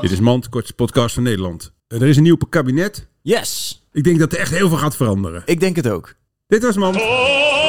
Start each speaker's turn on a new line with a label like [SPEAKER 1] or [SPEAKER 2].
[SPEAKER 1] Dit is Mand, kortste podcast van Nederland. Eh, Er is een nieuw kabinet.
[SPEAKER 2] Yes,
[SPEAKER 1] Ik denk dat er echt heel veel gaat veranderen.
[SPEAKER 2] ik denk het ook.
[SPEAKER 1] Dit was Mand.
[SPEAKER 3] Oh